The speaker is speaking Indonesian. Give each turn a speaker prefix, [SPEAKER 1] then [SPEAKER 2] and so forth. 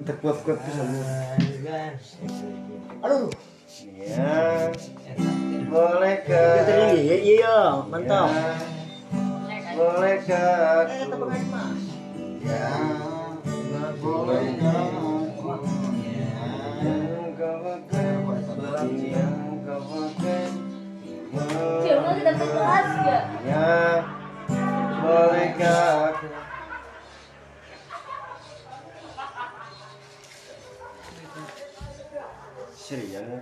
[SPEAKER 1] Terkuat-kuat pisan.
[SPEAKER 2] Aduh,
[SPEAKER 1] Ya. Boleh ke?
[SPEAKER 2] itu ini ya, iya,
[SPEAKER 1] Ya.
[SPEAKER 2] mantap.
[SPEAKER 1] Boleh ke
[SPEAKER 2] Eh,
[SPEAKER 1] aku?
[SPEAKER 2] tebakan mah.
[SPEAKER 1] Ya. Boleh ke aku? Yang kau pakai, yang kau pakai.
[SPEAKER 3] Cilmu kita kelas gak?
[SPEAKER 1] Ya. Boleh ke aku? Serius ya?